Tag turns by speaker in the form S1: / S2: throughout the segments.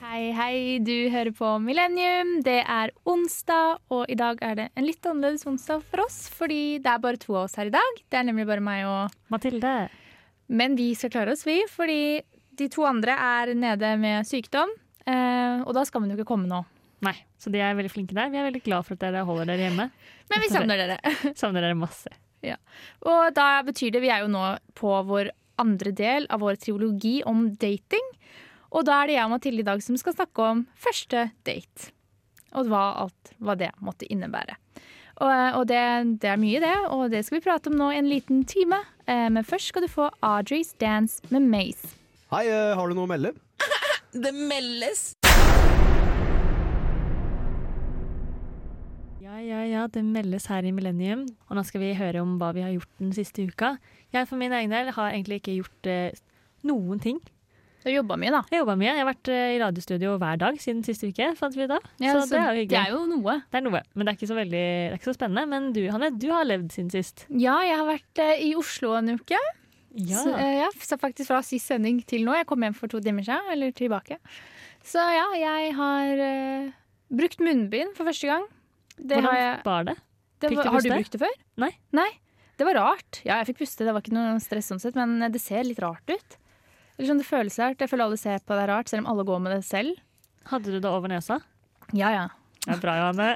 S1: hei, du hører på Millennium. Det er onsdag, og i dag er det en litt annerledes onsdag for oss, fordi det er bare to av oss her i dag. Det er nemlig bare meg og
S2: Mathilde.
S1: Men vi skal klare oss, vi, fordi de to andre er nede med sykdom, eh, og da skal man jo ikke komme nå.
S2: Nei, så de er veldig flinke der. Vi er veldig glad for at dere holder dere hjemme.
S1: Men vi savner dere.
S2: Savner dere masse.
S1: Og da betyr det vi er jo nå på vår andre del av vår triologi om dating. Og da er det jeg og Mathilde i dag som skal snakke om første date. Og hva alt hva det måtte innebære. Og, og det, det er mye, det, og det skal vi prate om nå i en liten time. Eh, Men først skal du få Audrey's Dance med Maze.
S3: Hei, eh, har du noe å melde?
S4: Det meldes.
S2: Ja, ja, ja, det meldes her i Millennium. Og nå skal vi høre om hva vi har gjort den siste uka. Jeg for min egen del har egentlig ikke gjort eh, noen ting.
S1: Du har jobba mye, da.
S2: Jeg har jobba mye. Jeg har vært eh, i radiostudio hver dag siden siste uke, fant vi da.
S1: Ja,
S2: så, det er jo hyggelig.
S1: det er jo noe.
S2: Det er noe, men det er ikke så, veldig, det er ikke så spennende. Men du, Hanne, du har levd siden sist.
S1: Ja, jeg har vært eh, i Oslo en uke.
S2: Ja.
S1: Så, eh, ja, så faktisk fra sist sending til nå. Jeg kom hjem for to timer siden, eller tilbake. Så ja, jeg har eh, brukt munnbind for første gang. Det har jeg,
S2: Hvordan var det?
S1: det
S2: fikk
S1: var,
S2: du
S1: har du
S2: puste?
S1: brukt det før?
S2: Nei.
S1: Det var rart. Ja, jeg fikk puste, det var ikke noe stress sånn sett, men det ser litt rart ut. Eller sånn, det føles rart. Jeg føler alle ser på det rart, selv om alle går med det selv.
S2: Hadde du det over nesa?
S1: Ja, ja.
S2: Ja, bra, Johanne.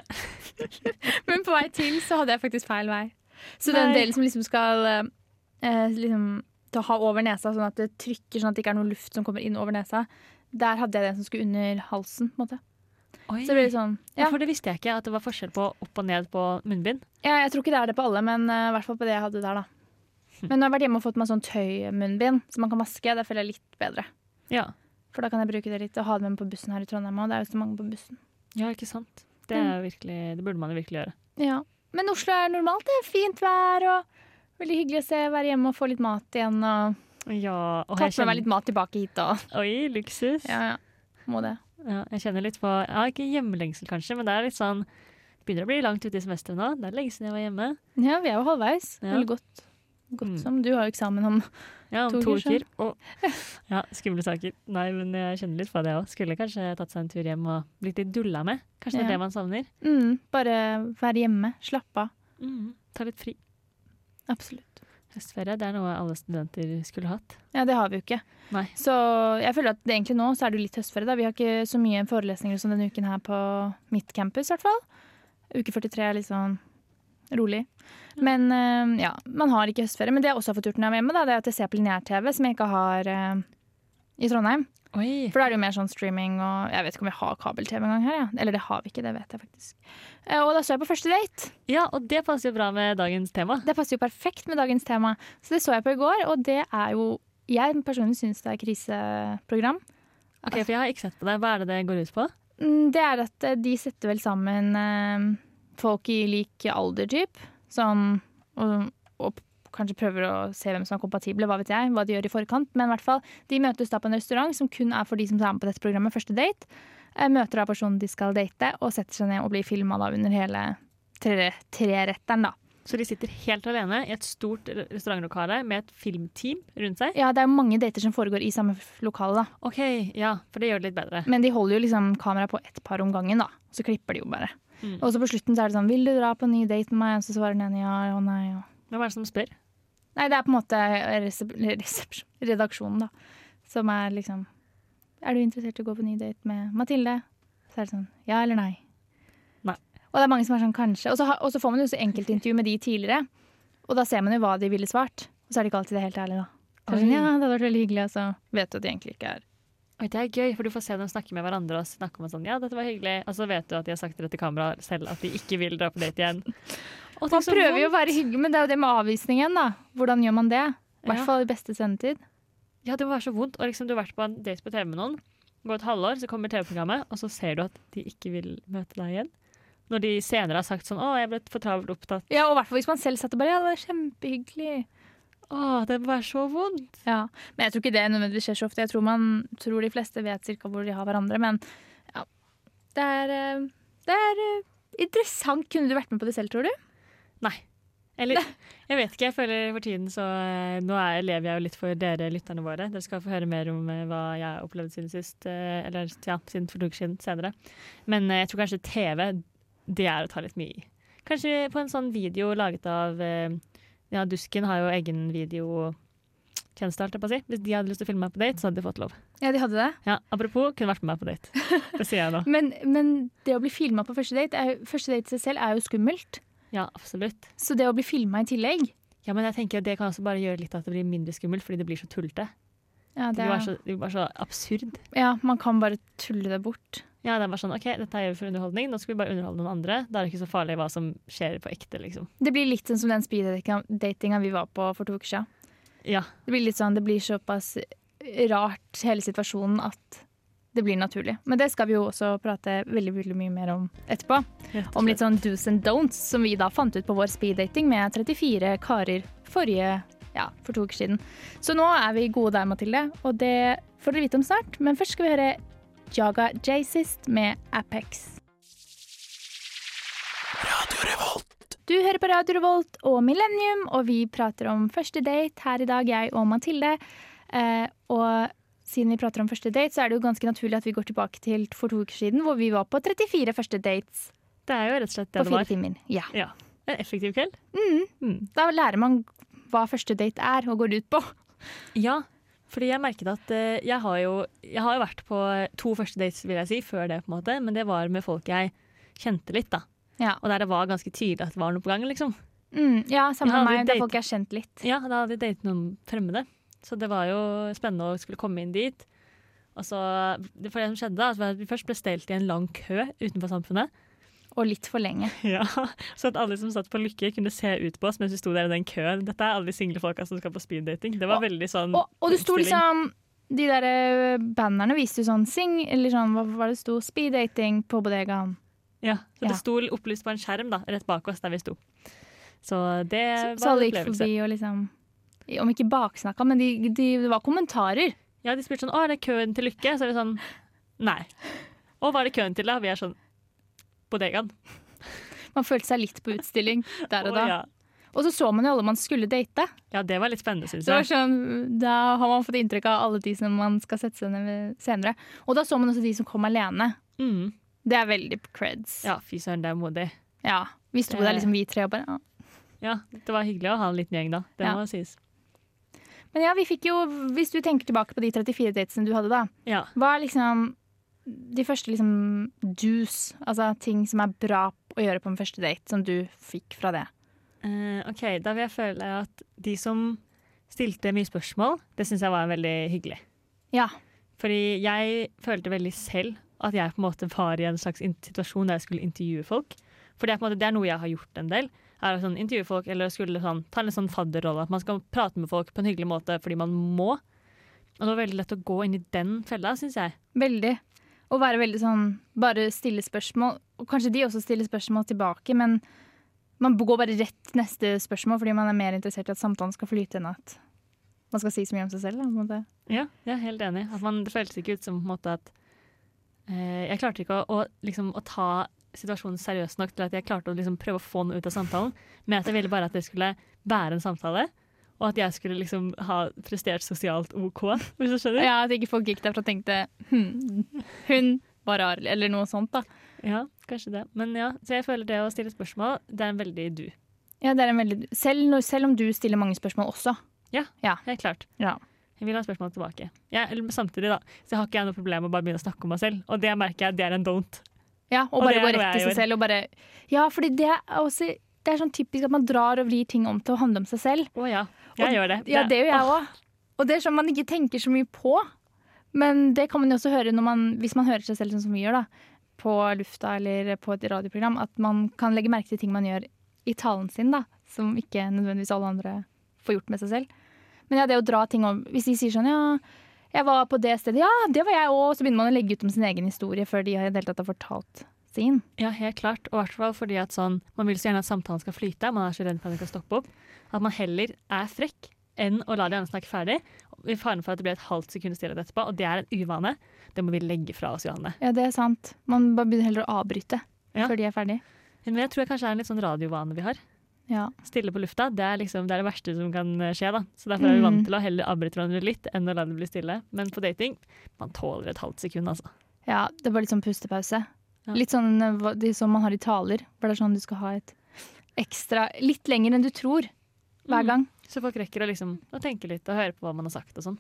S1: Men på vei til så hadde jeg faktisk feil vei. Så
S2: Nei.
S1: den delen som liksom skal eh, eh, liksom, ta- ha over nesa, sånn at det trykker sånn at det ikke er noe luft som kommer inn over nesa, der hadde jeg den som skulle under halsen. På en måte. Så det ble litt sånn
S2: Ja.
S1: ja.
S2: For det visste jeg ikke, at det var forskjell på opp og ned på munnbind.
S1: ja, Jeg tror ikke det er det på alle, men eh, i hvert fall på det jeg hadde der, da. Men nå har jeg vært hjemme og fått meg sånn tøymunnbind som man kan vaske. Det føler jeg er litt bedre.
S2: Ja,
S1: For da kan jeg bruke det litt og ha det med meg på bussen her i Trondheim òg. Det er jo så mange på bussen.
S2: ja ikke sant? Det, er jo virkelig, det burde man jo virkelig gjøre.
S1: Ja. Men Oslo er normalt. Det er fint vær og veldig hyggelig å se være hjemme og få litt mat igjen. og...
S2: Ja, og
S1: Tatt med
S2: jeg
S1: meg
S2: kjenner,
S1: litt mat tilbake hit da.
S2: Oi, luksus. Ja.
S1: Må det.
S2: jeg kjenner litt på ja, Ikke hjemlengsel, kanskje, men det er litt sånn det begynner å bli langt ute i semesteret nå. Det er lenge siden jeg var hjemme.
S1: Ja, vi er jo halvveis.
S2: Ja.
S1: Eller godt. godt
S2: Mm.
S1: som. Du har jo eksamen om
S2: Ja, om
S1: To
S2: to,
S1: uker
S2: uker. Og, ja, Skumle saker. Nei, men jeg kjenner litt på det òg. Skulle kanskje tatt seg en tur hjem og blitt litt dulla med. Kanskje det
S1: Ja.
S2: er det man savner.
S1: mm, Bare være hjemme. Slappe av.
S2: Ta litt fri.
S1: Absolutt.
S2: Høstferie det er noe alle studenter skulle hatt.
S1: Ja, det har vi jo ikke.
S2: Nei.
S1: Så jeg føler at det egentlig nå så er det jo litt høstferie, da. Vi har ikke så mye forelesninger som denne uken her på mitt campus, i hvert fall. Uke 43 er litt sånn rolig. Men eh, ja, man har ikke høstferie. Men det jeg også har fått gjort når jeg er hjemme, da, det er at jeg ser på lineær-TV, som jeg ikke har eh, i Trondheim.
S2: Oi!
S1: For da er det jo mer sånn streaming og Jeg vet ikke om vi har kabel-TV engang her. Ja. Eller det har vi ikke, det vet jeg faktisk. Eh, Og da så jeg på første date.
S2: Ja, og det passer jo bra med dagens tema.
S1: Det passer jo perfekt med dagens tema. Så det så jeg på i går, og det er jo Jeg personlig syns det er kriseprogram.
S2: Ok, For jeg har ikke sett på deg. Hva er det det går ut på?
S1: Mm, Det er at eh, de setter vel sammen eh, folk i lik alder, typ. Sånn og, og kanskje prøver å se hvem som er kompatible, hva vet jeg. Hva de gjør i forkant. Men i hvert fall, de møtes da på en restaurant som kun er for de som er med på dette programmet, første date. Eh, Møter da personen de skal date, og setter seg ned og blir filma da under hele tre- treretteren, da.
S2: Så de sitter helt alene i et stort re- restaurantlokale med et filmteam rundt seg.
S1: Ja, det er jo mange dater som foregår i samme f- lokale, da.
S2: Ok, ja, for det gjør det litt bedre.
S1: Men de holder jo liksom kamera på ett par om gangen, da. Så klipper de jo bare.
S2: Mm.
S1: Og så på slutten så er det sånn 'Vil du dra på en ny date med meg?' Og så svarer den ene ja og nei. Og
S2: Hvem er det som spør?
S1: Nei, det er på en måte resep resepsjon- redaksjonen, da. Som er liksom Er du interessert i å gå på ny date med Mathilde? Så er det sånn ja eller nei.
S2: Nei.
S1: Og det er mange som er sånn kanskje. Og så, har- og så får man jo også enkeltintervju med de tidligere. Og da ser man jo hva de ville svart. Og så er det ikke alltid det er helt ærlig, da. Så er det
S2: Oi.
S1: sånn, ja, det hadde vært veldig hyggelig, og så vet du at de egentlig ikke er
S2: Oi, det er gøy, for du får se dem snakke med hverandre og snakke om at sånn, ja, dette var hyggelig. Og så vet du at de har sagt det til kamera selv at de ikke vil dra på date igjen. Og
S1: Man prøver jo å være hyggelig, men det er jo det med avvisningen, da. Hvordan gjør man det? I hvert
S2: Ja.
S1: fall i beste sendetid.
S2: Ja, det var så vondt. Og liksom, du har vært på en date på TV med noen, går et halvår, så kommer TV-programmet, og så ser du at de ikke vil møte deg igjen. Når de senere har sagt sånn 'Å, jeg ble for travelt opptatt'.
S1: Ja, og i hvert fall hvis man selv satt og bare ja, det er kjempehyggelig.
S2: Å, det må være så vondt.
S1: Ja, men jeg tror ikke det nødvendigvis skjer så ofte. Jeg tror, man, tror de fleste vet cirka hvor de har hverandre, men ja. Det er, eh, det er eh, interessant. Kunne du vært med på det selv, tror du?
S2: Nei. Eller, jeg vet ikke, jeg føler for tiden så eh, Nå er, lever jeg jo litt for dere lytterne våre. Dere skal få høre mer om eh, hva jeg opplevde siden sist, eh, eller ja, siden for to uker siden senere. Men eh, jeg tror kanskje TV, det er å ta litt mye i. Kanskje på en sånn video laget av eh, Ja, Dusken har jo egen videotjeneste, holdt jeg på å si. Hvis de hadde lyst til å filme meg på date, så hadde de fått lov.
S1: Ja, de hadde det.
S2: Ja, Apropos, kunne vært med meg på date. Det sier jeg nå.
S1: Men, men det å bli filma på første date er, jo- Første date i seg selv er jo skummelt.
S2: Ja, absolutt.
S1: Så det å bli filma i tillegg
S2: Ja, men jeg tenker at Det kan også bare gjøre litt at det blir mindre skummelt, fordi det blir så tullete.
S1: ja,
S2: Det
S1: det
S2: blir bare
S1: er,
S2: så, det blir bare så absurd.
S1: ja, Man kan bare tulle det bort.
S2: Ja, det er bare sånn, ok, dette gjør vi for underholdning, nå skal vi bare underholde noen andre. Da er det ikke så farlig hva som skjer på ekte, liksom.
S1: Det blir litt sånn som den speeddatinga vi var på for to uker siden.
S2: Ja,
S1: Det blir litt sånn, det blir såpass rart hele situasjonen at det blir naturlig. Men det skal vi jo også prate veldig, veldig mye mer om etterpå. Om litt sånn do's and don'ts som vi da fant ut på vår speeddating med 34 karer forrige ja, for to uker siden. Så nå er vi gode der, Mathilde, og det får dere vite om snart. Men først skal vi høre Jaga Jazzist med Apex. Du hører på Radio Revolt og Millennium, og vi prater om første date her i dag, jeg og Mathilde. Eh, og siden vi prater om første date, så er det jo ganske naturlig at vi går tilbake til for to uker siden, hvor vi var på 34 første dates
S2: Det er jo rett og slett
S1: på
S2: det det
S1: fire
S2: var.
S1: timer. Ja.
S2: Ja. En effektiv kveld. Mm.
S1: Da lærer man hva første date er og går ut på.
S2: Ja, fordi jeg merket at eh, jeg har jo Jeg har jo vært på to første dates, vil jeg si, før det, på en måte, men det var med folk jeg kjente litt, da.
S1: Ja,
S2: Og der det var ganske tydelig at det var noe på gang, liksom.
S1: mm, ja
S2: Jeg
S1: sammen med
S2: har aldri
S1: meg, da
S2: datet-
S1: folk jeg har kjent litt.
S2: Ja, da hadde jeg datet noen fremmede. Så det var jo spennende å skulle komme inn dit. Og så, det- for det som skjedde da, så var at vi først ble stelt i en lang kø utenfor samfunnet.
S1: Og litt for lenge.
S2: Ja, Så at alle som satt på Lykke, kunne se ut på oss mens vi sto der i den køen. Dette er alle de single folka som skal på speeddating. Det var
S1: Og-
S2: veldig sånn
S1: Og, og det sto
S2: forestilling.
S1: liksom De der eh, bannerne viste jo sånn sing, eller sånn, hva var det det sto? Speeddating på bodegaen.
S2: Ja, Så
S1: Ja.
S2: det sto opplyst på en skjerm da, rett bak oss der vi sto. Så det
S1: Så- Så
S2: var
S1: alle
S2: en
S1: gikk
S2: Eh, opplevelse.
S1: forbi og liksom Om ikke baksnakka, men de, de, det var kommentarer.
S2: Ja, de spurte sånn 'Å, er det køen til Lykke?' Så er vi sånn Nei. Og hva er det køen til, da? Vi er sånn Bodegaen.
S1: Man følte seg litt på utstilling der og
S2: Å,
S1: da.
S2: ja.
S1: Og så så man jo alle man skulle date.
S2: ja, det var litt spennende, syns
S1: Så det var
S2: jeg.
S1: sånn, Da har man fått inntrykk av alle de som man skal sette seg ned ved senere. Og da så man også de som kom alene.
S2: Mm.
S1: Det er veldig creds.
S2: Ja, fy søren, det er modig.
S1: Ja, Vi sto
S2: Det-
S1: der liksom vi tre og bare ja.
S2: Ja, Det var hyggelig å ha en liten gjeng, da. Det
S1: Ja.
S2: må sies.
S1: Men ja, vi fikk jo, hvis du tenker tilbake på de 34 datesene du hadde da,
S2: Ja.
S1: hva er liksom de første liksom do's, altså ting som er bra å gjøre på en første date, som du fikk fra det?
S2: Eh, ok, da vil jeg føle at de som stilte mye spørsmål, det syns jeg var veldig hyggelig.
S1: Ja.
S2: Fordi jeg følte veldig selv at jeg på en måte var i en slags in- situasjon der jeg skulle intervjue folk. For det er, på en måte, det er noe jeg har gjort en del. Er å sånn, intervjue folk, eller skulle sånn, ta en litt sånn fadderrolle. At man skal prate med folk på en hyggelig måte fordi man må. Og det var veldig lett å gå inn i den fella, syns jeg.
S1: Veldig. Å være veldig sånn bare stille spørsmål. Og kanskje de også stiller spørsmål tilbake, men man går bare rett til neste spørsmål fordi man er mer interessert i at samtalen skal flyte enn at man skal si så mye om seg selv. Da, på en måte.
S2: Ja, jeg er helt enig. At man, det føltes ikke ut som på en måte at eh, Jeg klarte ikke å, å, liksom, å ta situasjonen seriøst nok til at jeg klarte å liksom, prøve å få noe ut av samtalen. Men at jeg ville bare at det skulle være en samtale. Og at jeg skulle liksom ha prestert sosialt OK, hvis du skjønner?
S1: Ja, At ikke folk gikk derfra og tenkte hm, hun var rar, eller noe sånt. da.
S2: Ja, kanskje det. Men ja, Så jeg føler det å stille spørsmål, det er en veldig du.
S1: Ja, det er en veldig, selv, når, selv om du stiller mange spørsmål også.
S2: Helt klart.
S1: Ja.
S2: Jeg vil ha spørsmål tilbake. Jeg, eller samtidig, da. Så har ikke jeg noe problem med å bare begynne å snakke om meg selv. Og det merker jeg, det er en don't.
S1: Ja, og,
S2: Og
S1: bare
S2: det er
S1: gå
S2: noe
S1: rett i
S2: jeg
S1: seg
S2: gjør.
S1: selv. og bare... Ja, fordi det er, også, det er sånn typisk at man drar og vrir ting om til å handle om seg selv.
S2: Å ja. Jeg
S1: Og-
S2: gjør det.
S1: Ja, det gjør jeg òg. Og det er sånn man ikke tenker så mye på. Men det kan man jo også høre når man, hvis man hører seg selv sånn som vi gjør, da. På lufta eller på et radioprogram. At man kan legge merke til ting man gjør i talen sin, da. Som ikke nødvendigvis alle andre får gjort med seg selv. Men ja, det å dra ting om Hvis de sier sånn ja, jeg var på det stedet, ja, det var jeg òg. Så begynner man å legge ut om sin egen historie før de har i det hele tatt har fortalt sin.
S2: Ja, helt klart. Og i hvert fall fordi at sånn, man vil så gjerne at samtalen skal flyte. Man er så redd for at den skal stoppe opp. At man heller er frekk enn å la de andre snakke ferdig. I faren for at det blir et halvt sekund stillhet etterpå, og det er en uvane. Det må vi legge fra oss, Johanne.
S1: Ja, det er sant. Man bare begynner heller å avbryte
S2: Ja.
S1: før de er ferdige.
S2: Men jeg tror jeg kanskje det er en litt sånn radiovane vi har.
S1: Ja.
S2: Stille på lufta, det er, liksom, det er det verste som kan skje. da. Så Derfor er vi
S1: Mm.
S2: vant til å heller avbryte hverandre litt enn å la det bli stille. Men på dating, man tåler et halvt sekund, altså.
S1: ja, det var litt sånn pustepause.
S2: Ja.
S1: Litt sånn eh, hva- de som man har i taler. For det er sånn du skal ha et ekstra Litt lenger enn du tror hver
S2: Mm.
S1: gang.
S2: Så folk rekker å, liksom, å tenke litt og høre på hva man har sagt og sånn.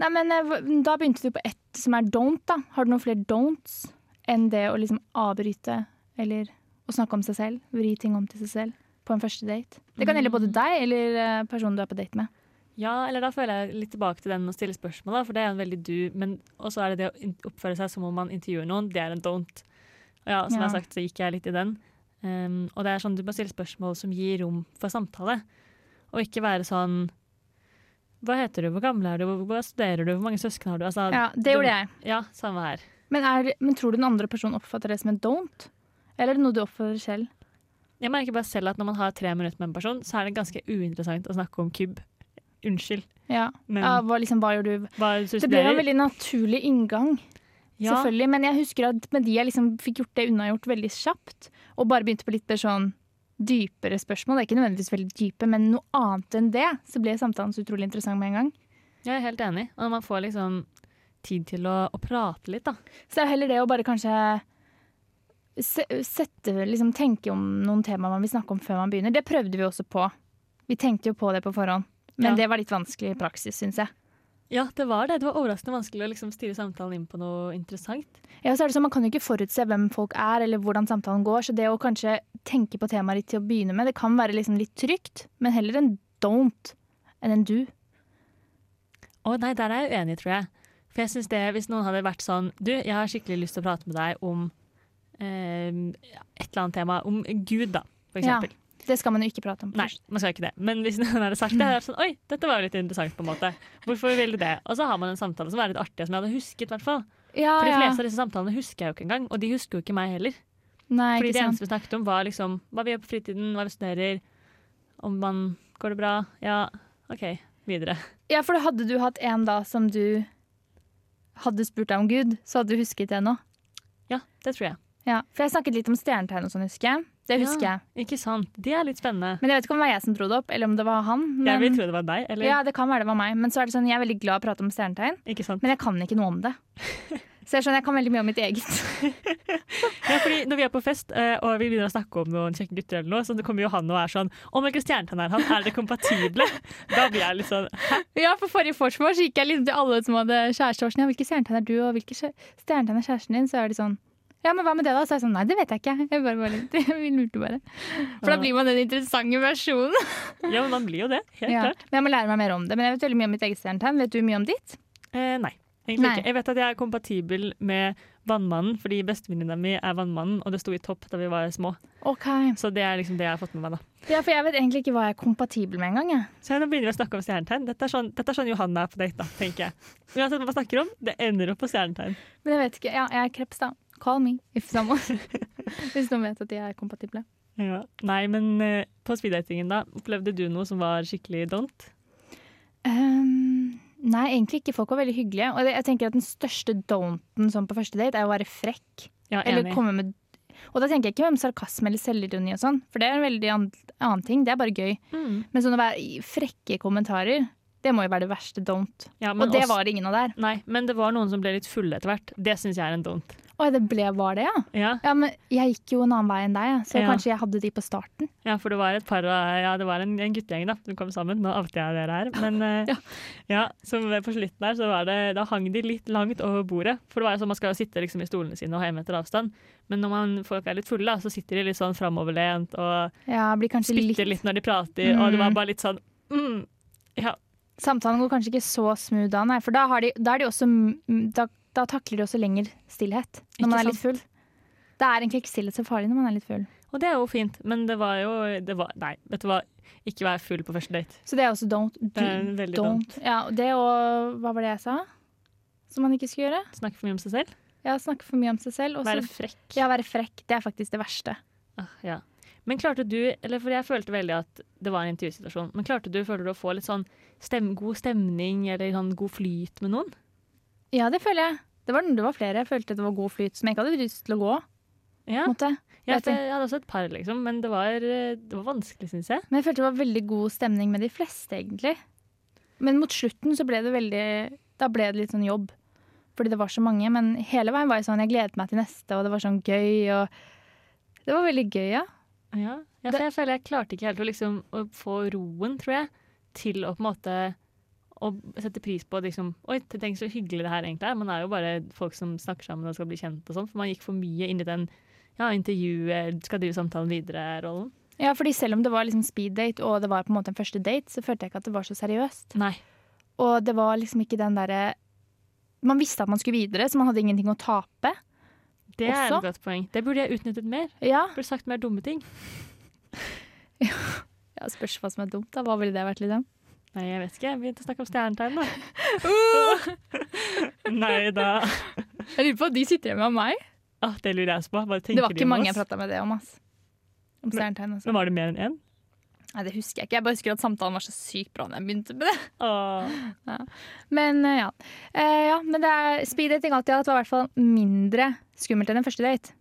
S1: Nei, men eh, hva- Da begynte du på ett som er don't. da. Har du noen flere don'ts enn det å liksom avbryte eller å snakke om seg selv? Vri ting om til seg selv på en første date. Det kan gjelde
S2: Mm.
S1: både deg eller eh, personen du er på date med.
S2: Ja, eller da føler jeg litt tilbake til den å stille spørsmål, da, for det er en veldig du, men også er det det å in- oppføre seg som om man intervjuer noen, det er en don't. Og ja, som jeg
S1: Ja.
S2: har sagt, så gikk jeg litt i den. Um, og det er sånn du må stille spørsmål som gir rom for samtale, og ikke være sånn Hva heter du, hvor gammel er du, Hvor- hva studerer du, hvor mange søsken har du? Altså,
S1: Ja, Det gjorde jeg.
S2: Ja, samme her.
S1: Men, er, men tror du den andre personen oppfatter det som en don't? Eller er det noe du oppfatter selv?
S2: Jeg merker bare selv at når man har tre minutter med en person, så er det ganske uinteressant å snakke om kubb. Unnskyld,
S1: Ja,
S2: men
S1: ja hva, liksom, hva gjør du?
S2: hva er det du
S1: Det ble jo en
S2: studerer?
S1: veldig naturlig inngang,
S2: Ja,
S1: selvfølgelig. Men jeg husker at med de jeg liksom fikk gjort det unnagjort veldig kjapt, og bare begynte på litt mer sånn dypere spørsmål, det er ikke nødvendigvis veldig dype, men noe annet enn det, så ble samtalen så utrolig interessant med en gang.
S2: jeg er helt enig. Og når man får liksom tid til å, å prate litt, da.
S1: Så det er heller det å bare kanskje se- sette, liksom, tenke om noen temaer man vil snakke om før man begynner. Det prøvde vi også på. Vi tenkte jo på det på forhånd, men
S2: Ja.
S1: det var litt vanskelig i praksis, syns jeg.
S2: Ja, det var det. Det var overraskende vanskelig å liksom styre samtalen inn på noe interessant.
S1: Ja, så er det sånn, Man kan jo ikke forutse hvem folk er eller hvordan samtalen går, så det å kanskje tenke på temaet ditt til å begynne med, det kan være liksom litt trygt, men heller en don't enn en do.
S2: Å nei, der er jeg uenig, tror jeg. For jeg synes det, hvis noen hadde vært sånn Du, jeg har skikkelig lyst til å prate med deg om eh, et eller annet tema. Om Gud, da, for
S1: Ja.
S2: eksempel.
S1: Det skal man jo ikke prate om.
S2: Nei,
S1: først.
S2: man skal ikke det. Men hvis noen hadde sagt det, hadde jeg vært sånn Oi, dette var jo litt interessant, på en måte. Hvorfor ville du det? Og så har man en samtale som er litt artig, og som jeg hadde husket, i hvert fall.
S1: Ah, Ja,
S2: For de
S1: ja.
S2: fleste av disse samtalene husker jeg jo ikke engang, og de husker jo ikke meg heller.
S1: Nei,
S2: Fordi
S1: ikke
S2: det
S1: sant.
S2: eneste vi snakket om var liksom hva vi gjør på fritiden, hva vi studerer, om man går det bra, ja, ok, videre.
S1: Ja, for hadde du hatt en da som du hadde spurt deg om Gud, så hadde du husket det nå.
S2: Ja, det tror jeg.
S1: Ja, For jeg snakket litt om stjernetegn og sånn, husker jeg. Det husker
S2: Ja.
S1: jeg.
S2: Ikke sant? Det er litt spennende.
S1: Men jeg vet ikke om det var jeg som dro det opp, eller om det var han. Men,
S2: Jeg vil tro det var deg, eller?
S1: ja, det kan være det var meg. Men så er det sånn, jeg er veldig glad i å prate om stjernetegn.
S2: Ikke sant?
S1: Men jeg kan ikke noe om det. Så jeg skjønner jeg kan veldig mye om mitt eget.
S2: Ja, fordi når vi er på fest, eh, og vi begynner å snakke om noen kjekke gutter eller noe, så kommer jo han og er sånn, om hvilken stjernetegn er han, er det kompatible? Da blir jeg litt sånn,
S1: Ja, for forrige Forsvar så gikk jeg liksom til alle som hadde kjæreste. og var sånn, Ja, hvilke stjernetegn er du, og hvilke skje- stjernetegn er kjæresten din? Så er de sånn Ja, men hva med det, da? Så er jeg sånn Nei, det vet jeg ikke. Jeg bare, bare litt, vi lurte bare. For da blir man den interessante versjonen.
S2: ja, men man blir jo det, helt
S1: Ja.
S2: klart.
S1: Men jeg må lære meg mer om det. Men jeg vet veldig mye om mitt eget stjernetegn. Vet du mye om ditt?
S2: Eh, nei, egentlig
S1: Nei.
S2: ikke. Jeg vet at jeg er kompatibel med vannmannen, fordi bestevenninna mi er vannmannen, og det sto i topp da vi var små.
S1: Ok.
S2: Så det er liksom det jeg har fått med meg da.
S1: Ja, for jeg vet egentlig ikke hva jeg er kompatibel med engang, jeg.
S2: Så nå begynner vi å snakke om stjernetegn. Dette er sånn, dette er sånn Johanna er på date, da, tenker jeg. Uansett hva man snakker om, det ender opp på stjernetegn.
S1: Men jeg vet ikke. Ja, jeg er kreps, da. Call me if someone. Hvis noen vet at de er kompatible.
S2: Ja. Nei, men eh, på speeddatingen, da, opplevde du noe som var skikkelig don't?
S1: Ehm, nei, egentlig ikke. Folk var veldig hyggelige. Og det, jeg tenker at den største don'ten sånn på første date er å være frekk.
S2: Ja,
S1: Eller
S2: enig.
S1: komme med Og da tenker jeg ikke om sarkasme eller selvironi og sånn, for det er en veldig an- annen ting. Det er bare gøy.
S2: Mm.
S1: Men sånn å være i- frekke kommentarer, det må jo være det verste don't.
S2: Ja, men
S1: Og det
S2: også-
S1: var det ingen av der.
S2: Nei, men det var noen som ble litt fulle etter hvert. Det syns jeg er en don't.
S1: Oi, det ble var det, ja.
S2: Ja,
S1: Ja, men jeg gikk jo en annen vei enn deg, jeg, så
S2: Ja.
S1: kanskje jeg hadde de på starten.
S2: ja for det var et par av Ja, det var en, en guttegjeng da, som kom sammen. Nå outer jeg dere her. Men eh, ja. som på slutten her, så var det Da hang de litt langt over bordet. For det var jo sånn man skal jo sitte liksom i stolene sine og ha en meter avstand. Men når man, folk er litt fulle, da, så sitter de litt sånn framoverlent og
S1: Ja, blir kanskje litt
S2: spytter litt når de prater, og det var bare litt sånn mm, ja,
S1: Samtalen går kanskje ikke så smooth da, nei, for da, har de, da, er de også, mm, da, da takler de også lenger stillhet. Når
S2: Ikke
S1: man er litt
S2: sant?
S1: full. Det er egentlig ikke stillhet så farlig når man er litt full.
S2: Og det er jo fint, men det var jo det var, Nei, vet du hva, ikke vær full på første date.
S1: Så det er også don't.
S2: Det er en veldig
S1: don't. Ja, og det og hva var det jeg sa? Som man ikke skulle gjøre?
S2: Snakke for mye om seg selv.
S1: Ja, snakke for mye om seg selv. Og så-
S2: Være frekk.
S1: ja, være frekk. Det er faktisk det verste.
S2: Ah, ja. Men klarte du, eller for jeg følte veldig at det var en intervjusituasjon, men klarte du, føler du å få litt sånn stem, god stemning eller sånn god flyt med noen?
S1: Ja, det føler jeg. Det var, det var flere jeg følte det var god flyt som jeg ikke hadde lyst til å gå.
S2: Ja,
S1: på en måte.
S2: ja,
S1: vet
S2: for
S1: jeg.
S2: jeg hadde også et par, liksom, men det var, eh, det var vanskelig, syns jeg.
S1: Men jeg følte det var veldig god stemning med de fleste, egentlig. Men mot slutten så ble det veldig Da ble det litt sånn jobb. Fordi det var så mange. Men hele veien var jeg sånn Jeg gledet meg til neste, og det var sånn gøy, og Det var veldig gøy, ja.
S2: Ja, ja for jeg føler jeg klarte ikke helt å, liksom, å få roen, tror jeg, til å på en måte å sette pris på liksom, Oi, tenk så hyggelig det her egentlig er. Man er jo bare folk som snakker sammen og skal bli kjent og sånn. For man gikk for mye inn i den ja, intervjuet, skal drive samtalen videre-rollen.
S1: Ja, fordi selv om det var liksom speed date, og det var på en måte en første date, så følte jeg ikke at det var så seriøst.
S2: Nei.
S1: Og det var liksom ikke den derre Man visste at man skulle videre, så man hadde ingenting å tape.
S2: Det er
S1: Også?
S2: et godt poeng. Det burde jeg utnyttet mer.
S1: Ja.
S2: Burde sagt mer dumme ting.
S1: ja spørs hva som er dumt, da. Hva ville det vært, liksom?
S2: Nei, jeg vet ikke. Jeg begynte å snakke om stjernetegn, da. Nei da.
S1: Jeg lurer på de sitter hjemme med meg.
S2: Ah, det lurer jeg også på. Bare tenker
S1: Det var
S2: de
S1: ikke
S2: om
S1: mange
S2: oss?
S1: jeg prata med det om, ass. Om stjernetegn, altså.
S2: Men var det mer enn én?
S1: Nei, det husker jeg ikke. Jeg bare husker at samtalen var så sykt bra når jeg begynte med det.
S2: Åh.
S1: Men eh, ja. Eh, ja, men det er speeddating alltid at det var i hvert fall mindre skummelt enn en første date.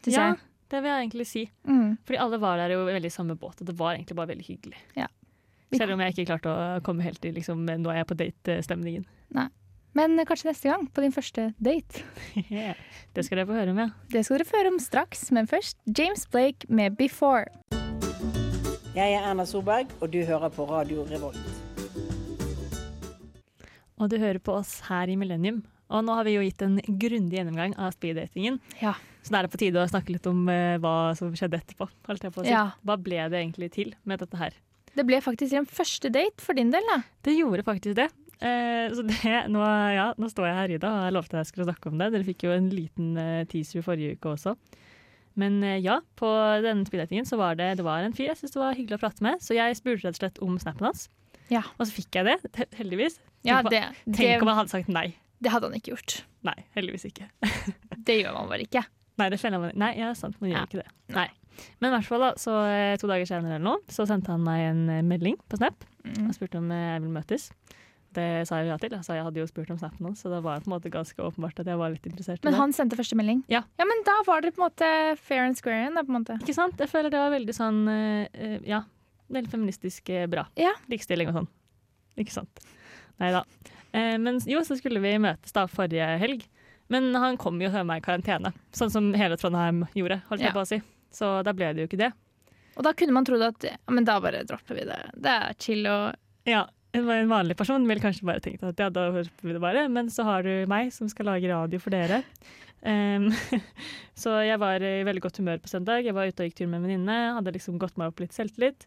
S1: Synes
S2: Ja,
S1: jeg.
S2: det vil jeg egentlig si.
S1: Mm.
S2: Fordi alle var der jo veldig i samme båt, og det var egentlig bare veldig hyggelig.
S1: Ja.
S2: Selv om jeg ikke klarte å komme helt i liksom, nå er jeg på date-stemningen.
S1: Men eh, kanskje neste gang, på din første date.
S2: det skal dere få høre om, ja.
S1: Det skal dere få høre om straks, men først James Blake med 'Before'.
S3: Jeg er Erna Solberg, og du hører på Radio Revolt.
S2: Og du hører på oss her i Millennium. Og nå har vi jo gitt en grundig gjennomgang av speeddatingen,
S1: Ja.
S2: så da er det på tide å snakke litt om eh, hva som skjedde etterpå. Holdt jeg på å si.
S1: Ja.
S2: Hva ble det egentlig til med dette her?
S1: Det ble faktisk en første date for din del, da.
S2: Det gjorde faktisk det. Eh, så det nå, ja, nå står jeg her, Ida, og jeg lovte jeg skulle snakke om det. Dere fikk jo en liten eh, teaser forrige uke også. Men eh, ja, på denne speeddatingen så var det, det var en fyr jeg syntes det var hyggelig å prate med. Så jeg spurte rett og slett om snappen hans,
S1: Ja.
S2: og så fikk jeg det, he- heldigvis.
S1: Ja,
S2: Tenk om-
S1: det, det,
S2: Tenk om han hadde sagt nei.
S1: det hadde han ikke gjort.
S2: Nei, heldigvis ikke.
S1: Det gjør man bare ikke.
S2: Nei, det skjønner man. Nei, ja, sant, man gjør
S1: Ja.
S2: ikke det. Nei. Men i hvert fall da, så eh, to dager senere eller noe, så sendte han meg en eh, melding på Snap
S1: Mm.
S2: og spurte om eh, jeg ville møtes. Det sa jeg jo ja til. Altså, jeg hadde jo spurt om Snapen hans, så det var på en måte ganske åpenbart at jeg var litt interessert. i
S1: Men
S2: det.
S1: han sendte første melding?
S2: Ja.
S1: ja, men da var dere på en måte fair and square igjen, da, på en måte.
S2: Ikke sant? Jeg føler det var veldig sånn eh, eh, Ja, veldig feministisk eh, bra.
S1: Ja.
S2: Likestilling og sånn. Ikke sant. Nei da. Eh, men jo, så skulle vi møtes da forrige helg. Men han kom jo til meg i karantene, sånn som hele Trondheim gjorde, holdt jeg
S1: Ja.
S2: på å si. Så da ble det jo ikke det.
S1: Og da kunne man trodd at ja, men da bare dropper vi det. Det er chill og
S2: Ja, en en vanlig person ville kanskje bare tenkt at ja, da hører vi det bare, men så har du meg som skal lage radio for dere. Em, så jeg var i veldig godt humør på søndag. Jeg var ute og gikk tur med en venninne, hadde liksom gått meg opp litt selvtillit.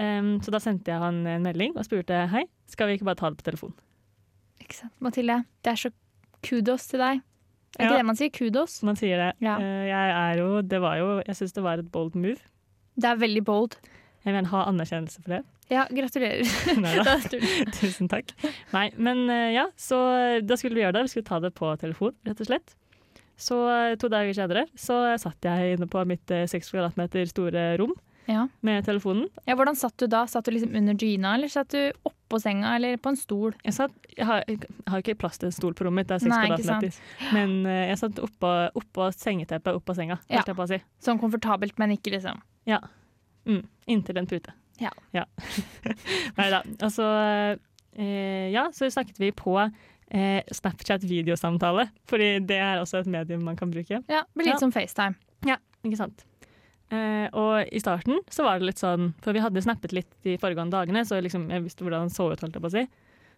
S2: Em, så da sendte jeg han en melding og spurte hei, skal vi ikke bare ta det på telefon?
S1: Ikke sant, Mathilde? Det er så kudos til deg. Er ikke
S2: Ja.
S1: det man sier? Kudos.
S2: Så man sier det.
S1: Ja.
S2: Eh, jeg er jo, det var jo, jeg syns det var et bold move.
S1: Det er veldig bold.
S2: Jeg vil gjerne ha anerkjennelse for det.
S1: Ja, gratulerer.
S2: Neida.
S1: Da tror jeg-
S2: Tusen takk. Nei, men eh, ja, så da skulle vi gjøre det. Vi skulle ta det på telefon, rett og slett. Så eh, to dager senere så eh, satt jeg inne på mitt eh, seks kvadratmeter store rom
S1: ja.
S2: med telefonen.
S1: ja, Hvordan satt du da? Satt du liksom under dyna, eller satt du oppå senga, eller på en stol?
S2: Jeg, satt, jeg, har, jeg har ikke plass til en stol på rommet mitt, det er seks
S1: Nei, ikke
S2: kvadratmeter. Men eh, jeg satt oppå, oppå sengeteppet oppå senga,
S1: Ja.
S2: holdt jeg på å si.
S1: Sånn komfortabelt, men ikke liksom
S2: Ja. Mm, inntil en pute.
S1: Ja.
S2: Nei da. Altså eh, Ja, så snakket vi på eh, Snapchat-videosamtale, fordi det er også et medium man kan bruke.
S1: Ja, det blir litt
S2: Ja.
S1: som FaceTime.
S2: Ikke sant? Eh, og i starten så var det litt sånn For vi hadde snappet litt de foregående dagene, så liksom jeg visste hvordan han så ut, holdt jeg på å si.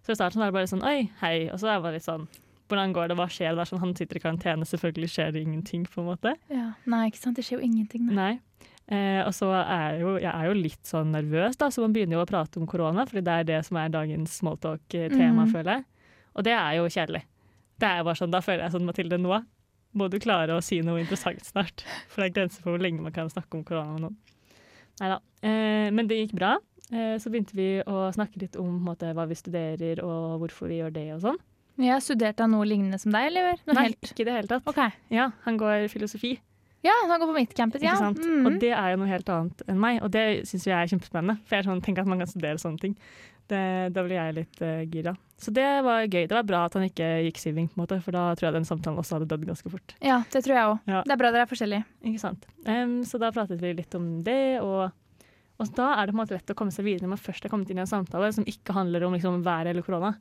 S2: Så i starten var det bare sånn oi, hei. Og så var det litt sånn hvordan går det, hva skjer? Det er sånn, han sitter i karantene, selvfølgelig skjer det ingenting, på en måte.
S1: Ja. Nei, ikke sant? Det skjer jo ingenting. da.
S2: Nei. Eh, og så er jo, jeg er jo litt sånn nervøs, da, så man begynner jo å prate om korona, fordi det er det som er dagens smalltalk-tema,
S1: Mhm.
S2: føler jeg. Og det er jo kjedelig. Det er jo bare sånn, Da føler jeg sånn, Mathilde, nå må du klare å si noe interessant snart. For det er grenser for hvor lenge man kan snakke om korona med noen. Neida. Eh, men det gikk bra. Eh, så begynte vi å snakke litt om på en måte, hva vi studerer og hvorfor vi gjør det og sånn.
S1: Jeg har studert av noe lignende som deg, eller? Noe
S2: Nei,
S1: helt
S2: ikke i det hele tatt.
S1: OK.
S2: Ja, han går filosofi.
S1: Ja, han går på mitt campus, ja.
S2: Ikke sant?
S1: Mhm.
S2: Og det er jo noe helt annet enn meg, og det syns jeg er kjempespennende. For jeg er sånn, tenk at man kan studere sånne ting. Det, da ble jeg litt eh, gira. Så det var gøy. Det var bra at han ikke gikk syving, på en måte, for da tror jeg den samtalen også hadde dødd ganske fort.
S1: Ja, det tror jeg òg.
S2: Ja.
S1: Det er bra dere er forskjellige.
S2: Ikke sant? Em, så da pratet vi litt om det, og, og da er det på en måte lett å komme seg videre når man først har kommet inn i en samtale som ikke handler om liksom, været eller korona,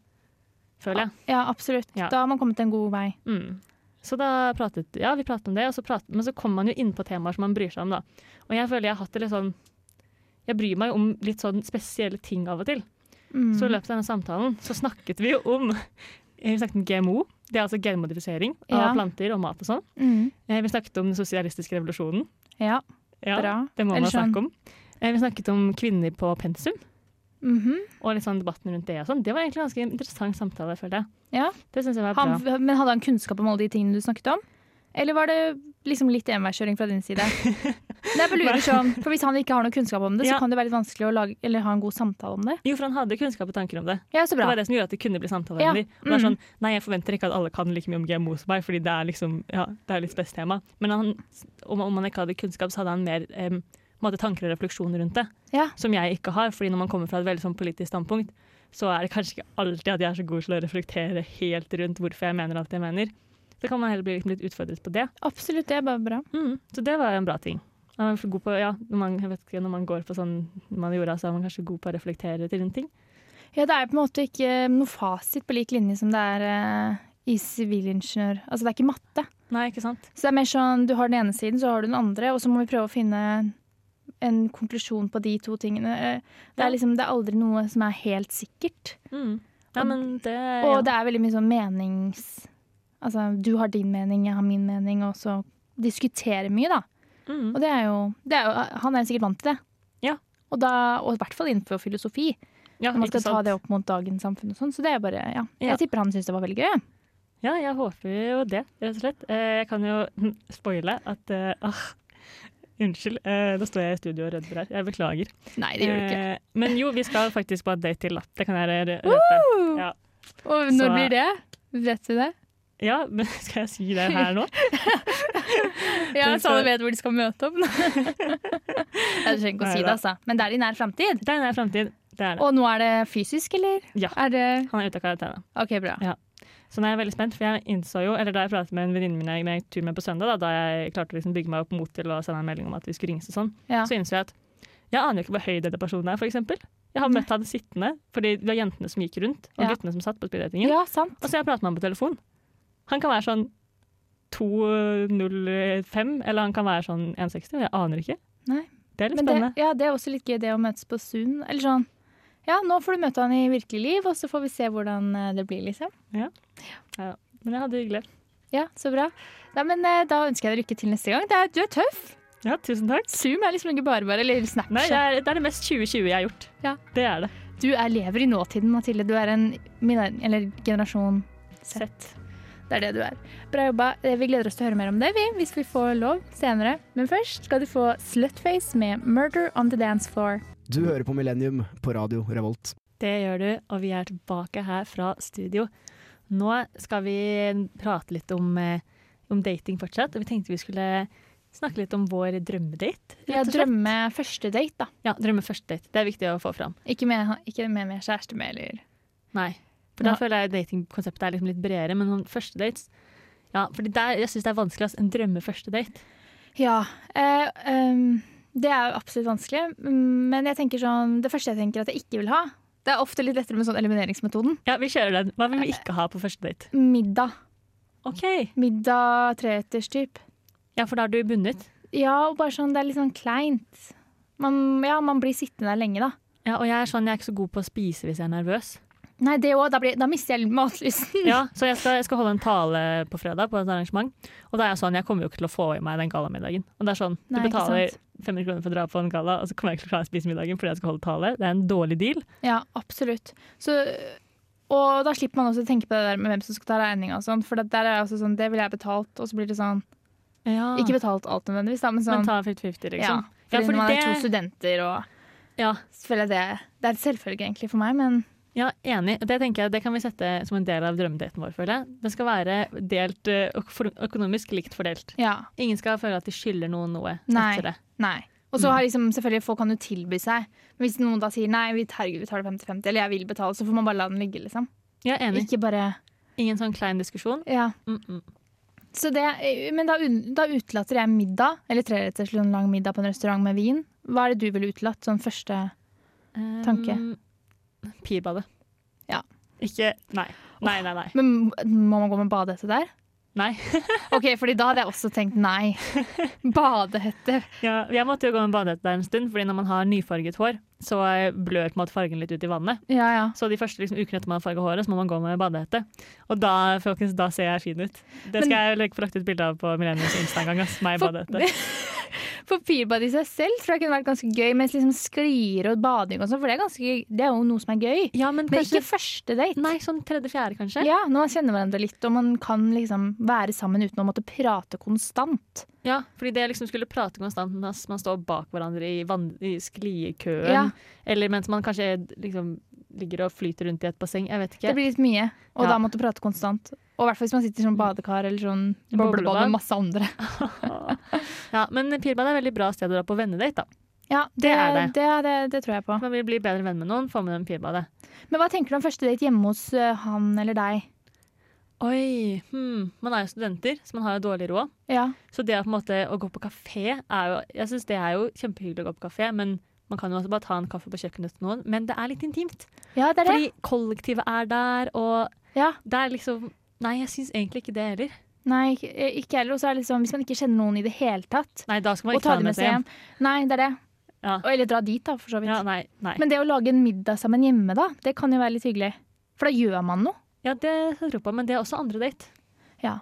S2: føler jeg.
S1: Ja, absolutt.
S2: Ja.
S1: Da har man kommet en god vei.
S2: Mm. Så da pratet Ja, vi pratet om det, og så pratet, men så kom man jo inn på temaer som man bryr seg om, da. Og jeg føler jeg har hatt det litt sånn Jeg bryr meg jo om litt sånn spesielle ting av og til.
S1: Mm.
S2: Så i løpet av denne samtalen så snakket vi jo om Vi snakket om GMO. Det er altså genmodifisering av
S1: Ja.
S2: planter og mat og sånn.
S1: Mm.
S2: Eh, Vi snakket om den sosialistiske revolusjonen.
S1: Ja.
S2: Ja,
S1: Bra.
S2: Det må
S1: Eller
S2: man
S1: sånn-
S2: snakke om. Eh, Vi snakket om kvinner på pensum,
S1: Mhm.
S2: og litt sånn debatten rundt det og sånn. Det var egentlig en ganske interessant samtale, føler jeg.
S1: Ja.
S2: Det synes jeg var bra.
S1: han, men hadde han kunnskap om alle de tingene du snakket om? Eller var det liksom litt enveiskjøring fra din side? Det er på lurer sånn, for Hvis han ikke har noe kunnskap om det,
S2: Ja.
S1: så kan det være litt vanskelig å lage, eller ha en god samtale om det.
S2: Jo, for han hadde kunnskap og tanker om det.
S1: Ja, så
S2: Det
S1: bra.
S2: var det som gjorde at det kunne bli samtaleemner.
S1: Ja,
S2: Og det er
S1: mm.
S2: sånn, nei, jeg forventer ikke at alle kan like mye om GMO som meg, fordi det er liksom, ja, det er litt spes tema. Men han, om, om han ikke hadde kunnskap, så hadde han mer em, på en måte tanker og refleksjoner rundt det,
S1: Ja.
S2: som jeg ikke har. fordi når man kommer fra et veldig sånn politisk standpunkt, så er det kanskje ikke alltid at jeg er så god til å reflektere helt rundt hvorfor jeg mener alt jeg mener. Så kan man heller bli liksom litt utfordret på det.
S1: Absolutt, det er bare bra.
S2: Mm, så det var en bra ting. Man er god på, ja, når man, jeg vet ikke, når man går på sånn man gjorde, så er man kanskje god på å reflektere til en ting.
S1: Ja, Det er på en måte ikke noe fasit på lik linje som det er eh, i sivilingeniør. Altså, det er ikke matte.
S2: Nei, ikke sant?
S1: Så det er mer sånn, Du har den ene siden, så har du den andre, og så må vi prøve å finne en konklusjon på de to tingene. Eh, Det er
S2: Ja.
S1: liksom, det er aldri noe som er helt sikkert.
S2: Mm. Ja,
S1: Og-
S2: men det,
S1: Og
S2: ja.
S1: det er veldig mye sånn menings... Altså, du har din mening, jeg har min mening, og så diskutere mye, da.
S2: Mm.
S1: Og det er jo, det er jo Han er sikkert vant til det.
S2: Ja.
S1: Og, da, og i hvert fall innenfor filosofi.
S2: Ja,
S1: Når man skal
S2: ikke
S1: ta
S2: sant?
S1: det opp mot dagens samfunn og sånn. Så det er bare Ja.
S2: Ja.
S1: Jeg tipper han syntes det var veldig gøy.
S2: Ja, jeg håper jo det, rett og slett. Eh, Jeg kan jo hm, spoile at eh, ah, Unnskyld, eh, nå står jeg i studio og rødmer her. Jeg beklager.
S1: Nei, det gjør du ikke.
S2: Eh, Men jo, vi skal faktisk på en date til, da. Det kan jeg rø- røpe. ja.
S1: Eh, Og
S2: Så-
S1: når blir det? Vet vi det?
S2: Ja, men skal jeg si det her nå?
S1: Ja,
S2: Den
S1: så alle
S2: skal-
S1: vet hvor de skal møte opp. Jeg trenger ikke å si det,
S2: Neida.
S1: altså. Men det er i nær framtid.
S2: Det er nær framtid. Det er det.
S1: Og nå er det fysisk, eller?
S2: Ja.
S1: Er det
S2: Han er ute av karantene.
S1: OK, bra.
S2: Så nå er jeg veldig spent, for jeg innså jo, eller da jeg pratet med en venninne min jeg gikk tur med på søndag, da, da jeg klarte å liksom bygge meg opp mot til å sende en melding om at vi skulle ringes og sånn,
S1: Ja.
S2: så innså jeg at jeg aner jo ikke hvor høy denne personen er, for eksempel. Jeg har møtt han sittende, fordi det var jentene som gikk rundt, og
S1: Ja.
S2: guttene som satt på speeddatingen.
S1: ja, sant.
S2: Og så har jeg pratet med han på telefon. Han kan være sånn 2,05, eller han kan være sånn 1,60, og jeg aner ikke.
S1: Nei.
S2: Det er litt
S1: Men det,
S2: spennende.
S1: ja, det er også litt gøy det å møtes på Zoom. Eller sånn. Ja, nå får du møte han i virkelig liv, og så får vi se hvordan eh, det blir, liksom.
S2: Men jeg hadde det hyggelig.
S1: Ja, så bra. Nei, men eh, da ønsker jeg deg lykke til neste gang. Det er, du er tøff!
S2: Ja, tusen takk.
S1: Zoom er liksom ikke bare bare, eller Snapchat.
S2: Nei, det er, det er det mest 2020 jeg har gjort.
S1: Ja.
S2: Det er det.
S1: Du er lever i nåtiden, Mathilde. Du er en millenn- eller generasjon Z. Det er det du er. Bra jobba. Eh, Vi gleder oss til å høre mer om det, vi, hvis vi får lov senere. Men først skal du få Slutface med 'Murder on the Dance Floor'.
S5: Du hører på Millennium på radio Revolt.
S2: Det gjør du, og vi er tilbake her fra studio. Nå skal vi prate litt om, eh, om dating fortsatt, og vi tenkte vi skulle snakke litt om vår drømmedate. rett
S1: Ja,
S2: og slett.
S1: drømme første date, da.
S2: Ja, drømme første date. Det er viktig å få fram.
S1: Ikke med, ikke med, med kjæreste med, eller
S2: Nei. For da
S1: Ja.
S2: føler jeg datingkonseptet er liksom litt bredere, men om første dates ja, fordi der, Jeg syns det er vanskelig. ass, En drømme første date.
S1: Ja. Eh, ehm, det er jo absolutt vanskelig. mm, Men jeg tenker sånn, det første jeg tenker at jeg ikke vil ha, det er ofte litt lettere med sånn elimineringsmetoden.
S2: Ja, Vi kjører den. Hva vil vi ikke ha på første date?
S1: Middag.
S2: OK.
S1: Middag treretters type.
S2: Ja, for da er du bundet.
S1: Ja, og bare sånn, det er litt sånn kleint. Man, ja, man blir sittende der lenge, da.
S2: Ja, Og jeg er sånn, jeg er ikke så god på å spise hvis jeg er nervøs.
S1: Nei, det òg. Da, blir- da mister jeg matlysten.
S2: Ja, så jeg skal, jeg skal holde en tale på fredag på et arrangement. Og da er jeg sånn, jeg kommer jo ikke til å få i meg den gallamiddagen. Og det er sånn, du
S1: Nei, ikke
S2: betaler
S1: sant.
S2: 500 kroner for å dra på en galla, og så kommer jeg ikke til å klare å spise middagen fordi jeg skal holde tale. Det er en dårlig deal.
S1: Ja, absolutt. Så, og da slipper man også å tenke på det der med hvem som skal ta regninga og sånn. For det der er altså sånn, det ville jeg betalt, og så blir det sånn
S2: Ah.
S1: Ikke betalt alt nødvendigvis, da, men sånn
S2: Men ta 50-50, liksom.
S1: Ja, fordi
S2: fordi
S1: når man er to
S2: det,
S1: studenter og
S2: ja,
S1: så føler jeg det, det er en selvfølge egentlig for meg, men
S2: ja, enig. Og Det tenker jeg, det kan vi sette som en del av drømmedaten vår, føler jeg. Det skal være delt, eh, øk- for- økonomisk likt fordelt.
S1: ja.
S2: Ingen skal føle at de skylder noen noe
S1: Nei.
S2: etter det.
S1: Nei. Og så har liksom, selvfølgelig folk kan jo tilby seg. Men hvis noen da sier nei, vi, herregud, vi tar det 50-50, eller jeg vil betale, så får man bare la den ligge, liksom.
S2: Jeg er enig.
S1: Ikke bare
S2: Ingen sånn klein diskusjon.
S1: Ja.
S2: Mm -mm.
S1: Så det, eh, men da, un- da utelater jeg middag, eller treretters eller en lang middag på en restaurant med vin. Hva er det du ville utelatt? Sånn første
S2: Um,
S1: Tanke.
S2: Pibadet.
S1: Ja.
S2: Ikke Nei. Nei, nei, nei.
S1: Men må man gå med badehette der?
S2: nei.
S1: Ok, fordi da hadde jeg også tenkt nei. Badehette.
S2: Ja, jeg måtte jo gå med badehette der en stund, fordi når man har nyfarget hår, så eh, blør på en måte fargen litt ut i vannet.
S1: Ja, ja.
S2: Så de første liksom, ukene etter man har farget håret, så må man gå med badehette. Og da, folkens, da ser jeg fin ut. Det skal jeg legge på lagt ut bilde av på Millenniums Insta en gang. ass. Meg i
S1: For-
S2: badehette.
S1: For pirbad i seg selv tror jeg kunne vært ganske gøy, mens liksom sklier og bading og sånn, for det er, ganske, det er jo noe som er gøy.
S2: Ja, men
S1: Men
S2: kanskje
S1: ikke første date.
S2: Nei, sånn tredje-fjerde, kanskje.
S1: Ja, Når man kjenner hverandre litt, og man kan liksom være sammen uten å måtte prate konstant.
S2: Ja, fordi det liksom skulle prate konstant mens man står bak hverandre i, vann, i skliekøen.
S1: Ja.
S2: Eller mens man kanskje liksom ligger og flyter rundt i et basseng. Jeg vet ikke.
S1: Det blir litt mye, og
S2: Ja.
S1: da måtte prate konstant. Og i hvert fall hvis man sitter i sånn badekar eller sånn boblebad
S2: Boblebad.
S1: med masse andre.
S2: Ja, men Pirbad er et veldig bra sted å dra på vennedate. da.
S1: Ja, det, det,
S2: er det.
S1: det, det tror jeg på.
S2: Man vil bli bedre venn med noen, få med dem Pirbadet.
S1: Men hva tenker du om første date hjemme hos eh, han eller deg?
S2: Oi, hmm. Man er jo studenter, så man har jo dårlig råd.
S1: Ja,
S2: Så det å, på en måte, å gå på kafé er jo, Jeg syns det er jo kjempehyggelig å gå på kafé, men man kan jo også bare ta en kaffe på kjøkkenet til noen. Men det er litt intimt.
S1: ja det er det.
S2: Fordi kollektivet er der, og
S1: Ja.
S2: det er liksom Nei, jeg syns egentlig ikke det heller.
S1: Nei, ikke- ikke heller. Og så er det liksom, hvis man ikke kjenner noen i det hele tatt,
S2: Nei, da skal man
S1: og
S2: ikke
S1: ta dem med seg hjem. Nei, det er det.
S2: Ja.
S1: Og- Eller dra dit, da, for så vidt.
S2: Ja, nei, nei.
S1: Men det å lage en middag sammen hjemme, da, det kan jo være litt hyggelig. For da gjør man noe.
S2: ja, det skal jeg tro på, men det er også andre date.
S1: Ja.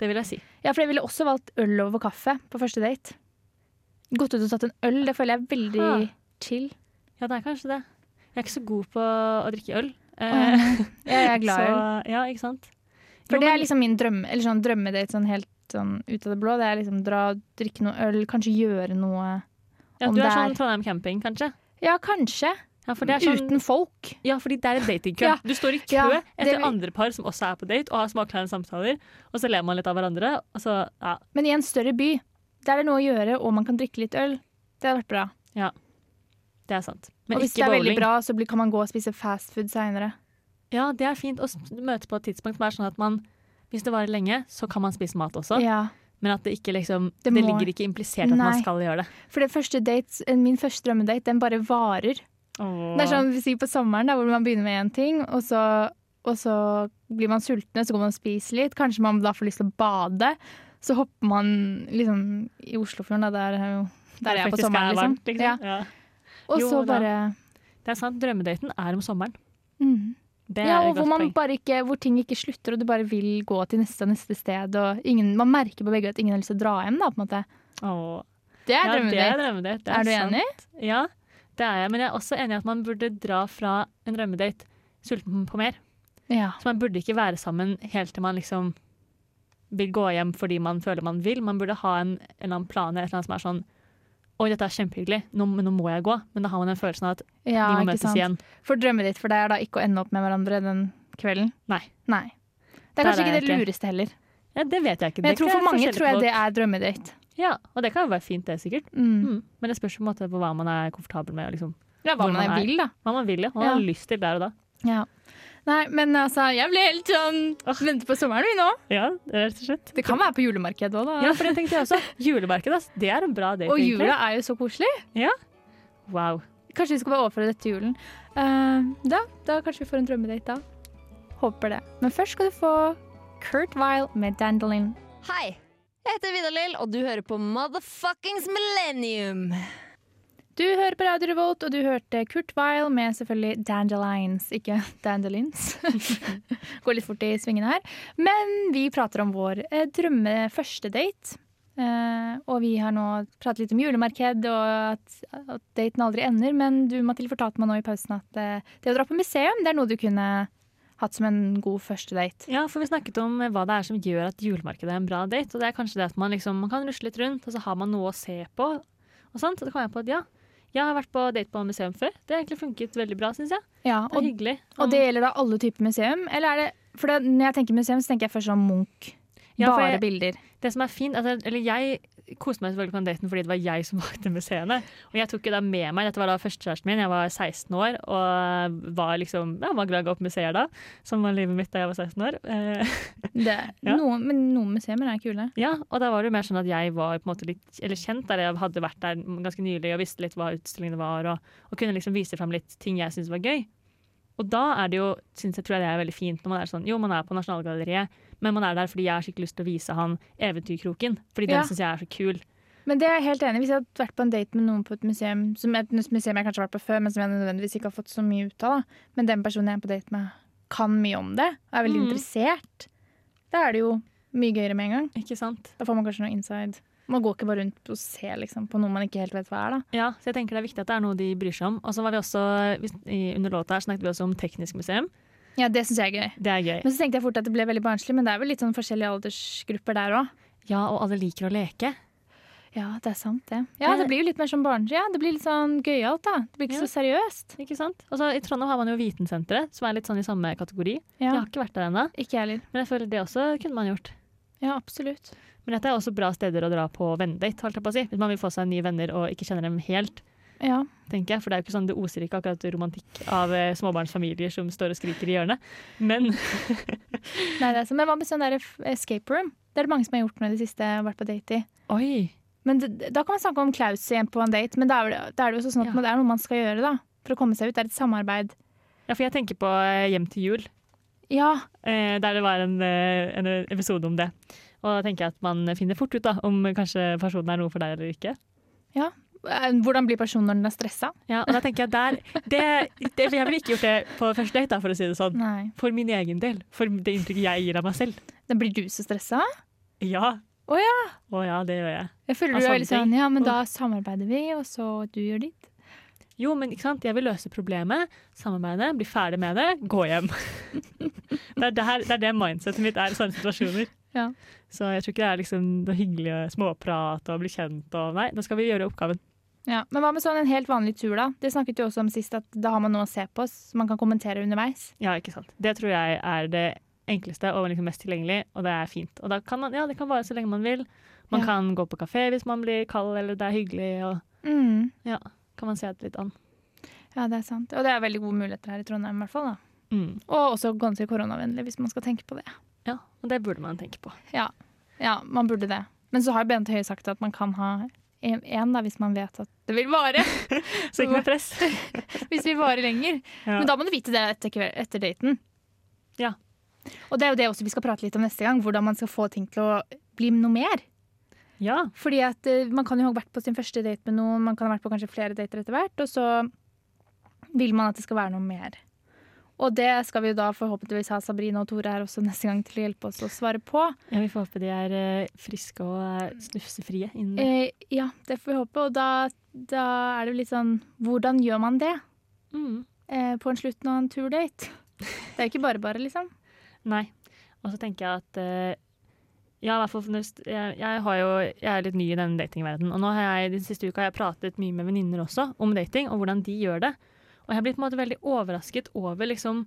S2: Det vil jeg si.
S1: Ja, for jeg ville også valgt øl over kaffe på første date. Gått ut og tatt en øl, det føler jeg er veldig chill.
S2: Ja, det er kanskje det. Jeg er ikke så god på å drikke øl. Eh,
S1: Jeg er glad i øl.
S2: Så, ja, ikke sant?
S1: For
S2: Jo,
S1: det er
S2: men-
S1: liksom min drømme, eller sånn drømmedate sånn helt sånn ut av det blå. Det er liksom dra, drikke noe øl, kanskje gjøre noe.
S2: ja,
S1: om
S2: Du
S1: det
S2: er
S1: er-
S2: sånn Trondheim camping, kanskje?
S1: Ja, kanskje.
S2: Ja, for det er sånn,
S1: Uten folk.
S2: ja, fordi det er en datingkø.
S1: Ja.
S2: Du står i kø
S1: Ja, det
S2: etter
S1: vil-
S2: andre par som også er på date, og har smakklare samtaler, og så ler man litt av hverandre, og så ja.
S1: Men i en større by, der det er noe å gjøre, og man kan drikke litt øl. Det hadde vært bra.
S2: Det er sant. Men
S1: og hvis det
S2: ikke
S1: er veldig
S2: bowling.
S1: bra, så blir- kan man gå og spise fast food seinere.
S2: Ja, det er fint å s- møtes på et tidspunkt som er sånn at man hvis det varer lenge, så kan man spise mat også.
S1: Ja.
S2: Men at det ikke liksom Det,
S1: Det må-
S2: ligger ikke implisert at man
S1: Nei.
S2: skal gjøre det.
S1: For det første date, min første drømmedate, den bare varer. Det er sånn vi sier på sommeren, da, hvor man begynner med én ting, og så, og så blir man sultne, så går man og spiser litt. Kanskje man da får lyst til å bade. Så hopper man liksom i Oslofjorden, da. Der, er jo- der er jeg på
S2: faktisk
S1: sommeren,
S2: er
S1: liksom.
S2: varmt, liksom.
S1: Ja.
S2: Ja.
S1: Og
S2: Jo
S1: så
S2: da.
S1: bare
S2: Det er sant. Drømmedaten er om sommeren.
S1: mm.
S2: Det
S1: Ja,
S2: er
S1: og
S2: et
S1: hvor,
S2: godt
S1: man
S2: poeng.
S1: bare ikke, hvor ting ikke slutter, og du bare vil gå til neste og neste sted. Og ingen, man merker på begge at ingen har lyst til å dra hjem, da, på en måte.
S2: Åh.
S1: Det er
S2: Ja, det er
S1: drømmedate.
S2: drømmedate. det
S1: Er du
S2: sant.
S1: enig?
S2: Ja, det er jeg. Men jeg er også enig i at man burde dra fra en drømmedate sulten på mer.
S1: Ja.
S2: Så man burde ikke være sammen helt til man liksom vil gå hjem fordi man føler man vil. Man burde ha en, en eller annen plan eller et eller annet som er sånn Oi, dette er kjempehyggelig, nå, men nå må jeg gå. Men da har man den følelsen av at
S1: ja,
S2: vi må
S1: ikke
S2: møtes
S1: sant.
S2: igjen.
S1: For drømmet ditt for deg er da ikke å ende opp med hverandre den kvelden?
S2: Nei.
S1: Nei. Det er
S2: Der
S1: kanskje
S2: er
S1: ikke
S2: jeg
S1: det
S2: ikke.
S1: lureste heller.
S2: Ja, det vet jeg ikke.
S1: Men jeg
S2: Det
S1: tror
S2: kan
S1: for mange
S2: forskjellig
S1: tror jeg
S2: på-
S1: det er drømmedate.
S2: Ja, Og det kan jo være fint, det, sikkert.
S1: Mm.
S2: Mm. Men det spørs på, en måte på hva man er komfortabel med. og Liksom.
S1: Ja, hva
S2: Hvor man
S1: man
S2: er.
S1: vil, da.
S2: Hva man vil, ja. Hva man
S1: Ja.
S2: har lyst til der og da.
S1: Ja. Nei, men altså, jeg ble helt sånn Venter på sommeren, vi nå.
S2: Ja, rett og slett.
S1: Det kan være på julemarkedet òg, da.
S2: Ja, for det tenkte jeg også. Julemarked, ass. Det er en bra date,
S1: Og
S2: egentlig.
S1: jula er jo så koselig.
S2: Wow.
S1: Kanskje vi skal bare overføre det til julen. Eh, da, da kanskje vi får en drømmedate da. Håper det. Men først skal du få Kurt Vile med Dandelion.
S6: Hei, jeg heter Vidar-Lill, og du hører på Motherfuckings Millennium.
S1: Du hører på Radio Revolt, og du hørte Kurt Weil med selvfølgelig Dandelions, ikke Dandelions. Går litt fort i svingene her. Men vi prater om vår eh, drømme første date. Eh, og vi har nå pratet litt om julemarked og at, at daten aldri ender. Men du Mathilde fortalte meg nå i pausen at eh, det å dra på museum, det er noe du kunne hatt som en god første date.
S2: Ja, for vi snakket om eh, hva det er som gjør at julemarkedet er en bra date. Og det er kanskje det at man liksom man kan rusle litt rundt, og så har man noe å se på. Og sånt. Og da kom jeg på at ja, jeg har vært på date på museum før. Det har egentlig funket veldig bra, syns jeg.
S1: Ja,
S2: Det er
S1: og,
S2: hyggelig.
S1: og det gjelder da alle typer museum? Eller er det, for det, når jeg tenker museum, så tenker jeg først sånn Munch.
S2: Ja, for
S1: Bare
S2: jeg-
S1: bilder.
S2: Det som er fint, altså, eller Jeg koste meg selvfølgelig på den daten fordi det var jeg som valgte museene. Og jeg tok jo da med meg, Dette var da førstekjæresten min, jeg var 16 år og var liksom, ja, var glad i å gå på museer da. Sånn var livet mitt da jeg var 16 år. Eh,
S1: Det,
S2: Ja.
S1: noen, men noen museer er kule.
S2: Ja, og da var det jo mer sånn at jeg var på en måte litt eller kjent der jeg hadde vært der ganske nylig og visste litt hva utstillingene var, og, og kunne liksom vise fram litt ting jeg syntes var gøy. Og da er det jo, synes jeg tror jeg det er veldig fint når man er sånn, jo man er på Nasjonalgalleriet, men man er der fordi jeg har skikkelig lyst til å vise han Eventyrkroken, fordi
S1: Ja.
S2: den synes jeg er så kul.
S1: Men det er jeg helt enig i. Hvis jeg hadde vært på en date med noen på et museum, som et museum jeg kanskje har vært på før, men som jeg nødvendigvis ikke har fått så mye ut av, da. men den personen jeg er på date med, kan mye om det, og er veldig
S2: Mhm.
S1: interessert, da er det jo mye gøyere med en gang.
S2: Ikke sant?
S1: Da får man kanskje noe inside. Man går ikke bare rundt og ser liksom, på noe man ikke helt vet hva er, da.
S2: Ja, så jeg tenker det er viktig at det er noe de bryr seg om. Og så var vi også, hvis- i- under låta her snakket vi også om teknisk museum.
S1: Ja, det syns jeg er gøy.
S2: Det er gøy.
S1: Men så tenkte jeg fort at det ble veldig barnslig, men det er vel litt sånn forskjellige aldersgrupper der òg.
S2: Ja, og alle liker å leke.
S1: Ja, det er sant, det. Ja, det blir jo litt mer sånn barnslig. Ja, det blir litt sånn gøyalt, da. Det blir ikke
S2: Ja.
S1: så seriøst.
S2: Ikke sant? Og så i Trondheim har man jo Vitensenteret, som er litt sånn i samme kategori. Jeg
S1: Ja,
S2: har ikke vært der ennå,
S1: ikke jeg heller.
S2: men jeg føler det også kunne man gjort.
S1: Ja, absolutt.
S2: Men dette er også bra steder å dra på vennedate, holdt jeg på å si. Hvis man vil få seg nye venner og ikke kjenner dem helt,
S1: Ja.
S2: tenker jeg. For det er jo ikke sånn, det oser ikke akkurat romantikk av eh, småbarnsfamilier som står og skriker i hjørnet. Men
S1: Nei, det er sant. Men hva med sånn der f- escape room? Det er det mange som har gjort nå i det siste. og Vært på date i.
S2: oi!
S1: Men det, da kan man snakke om Klaus igjen på en date, men da er det, da er det jo også sånn at
S2: Ja.
S1: det er noe man skal gjøre da, for å komme seg ut. Det er et samarbeid.
S2: Ja, for jeg tenker på eh, Hjem til jul,
S1: Ja,
S2: eh, der det var en, eh, en episode om det. Og da tenker jeg at man finner fort ut da, om kanskje personen er noe for deg eller ikke.
S1: Eh, Hvordan blir personen når den er stressa?
S2: Ja, og da tenker jeg der, det, det, Jeg ville ikke gjort det på første date, da, for å si det sånn.
S1: Nei.
S2: For min egen del. For det inntrykket jeg gir av meg selv.
S1: Da blir du så stressa?
S2: Ja.
S1: Å
S2: ja. ja, det gjør jeg.
S1: Jeg føler
S2: Av
S1: du er veldig
S2: sånne
S1: sånn Ja, men da samarbeider vi, og så du gjør ditt.
S2: Jo, men ikke sant? jeg vil løse problemet, samarbeide, bli ferdig med det, gå hjem. det, er der, det er det mindsetet mitt er i sånne situasjoner.
S1: Ja.
S2: Så jeg tror ikke det er liksom noe hyggelig å småprat og bli kjent og Nei, nå skal vi gjøre oppgaven.
S1: Ja, Men hva med sånn en helt vanlig tur, da? Det snakket vi også om sist, at da har man noe å se på som man kan kommentere underveis.
S2: Ja, ikke sant. Det tror jeg er det enkleste og liksom mest tilgjengelig, og det er fint. Og da kan man, ja, det kan vare så lenge man vil. Man
S1: Ja.
S2: kan gå på kafé hvis man blir kald eller det er hyggelig, og
S1: Mm.
S2: ja, kan man se det litt an.
S1: Ja, det er sant. Og det er veldig gode muligheter her i Trondheim, i hvert fall. da.
S2: Mm.
S1: Og også ganske koronavennlig, hvis man skal tenke på det.
S2: Ja, og det burde man tenke på.
S1: Ja, ja man burde det. Men så har Bente Høie sagt at man kan ha én hvis man vet at det vil vare.
S2: Så ikke noe press.
S1: Hvis vi varer lenger.
S2: Ja.
S1: Men da må du vite det etter, kve- etter daten.
S2: Ja.
S1: Og det er jo det også vi skal prate litt om neste gang, hvordan man skal få ting til å bli noe mer.
S2: Ja,
S1: Fordi at eh, Man kan jo ha vært på sin første date med noen, man kan ha vært på kanskje flere dater etter hvert, og så vil man at det skal være noe mer. Og det skal vi jo da forhåpentligvis ha Sabrina og Tore her også neste gang til å hjelpe oss å svare på.
S2: Ja, Vi får håpe de er eh, friske og eh, snufsefrie. Innen.
S1: Eh, ja, det får vi håpe. Og da, da er det jo litt sånn Hvordan gjør man det
S2: Mm.
S1: eh, på en slutten av en turdate? Det er jo ikke bare bare, liksom.
S2: Nei. Og så tenker jeg at eh, ja, i hvert fall for når st- jeg, jeg, har jo, jeg er litt ny i denne datingverdenen. Og nå har jeg, den siste uka har jeg pratet mye med venninner også om dating og hvordan de gjør det. Og jeg har blitt på en måte veldig overrasket over liksom,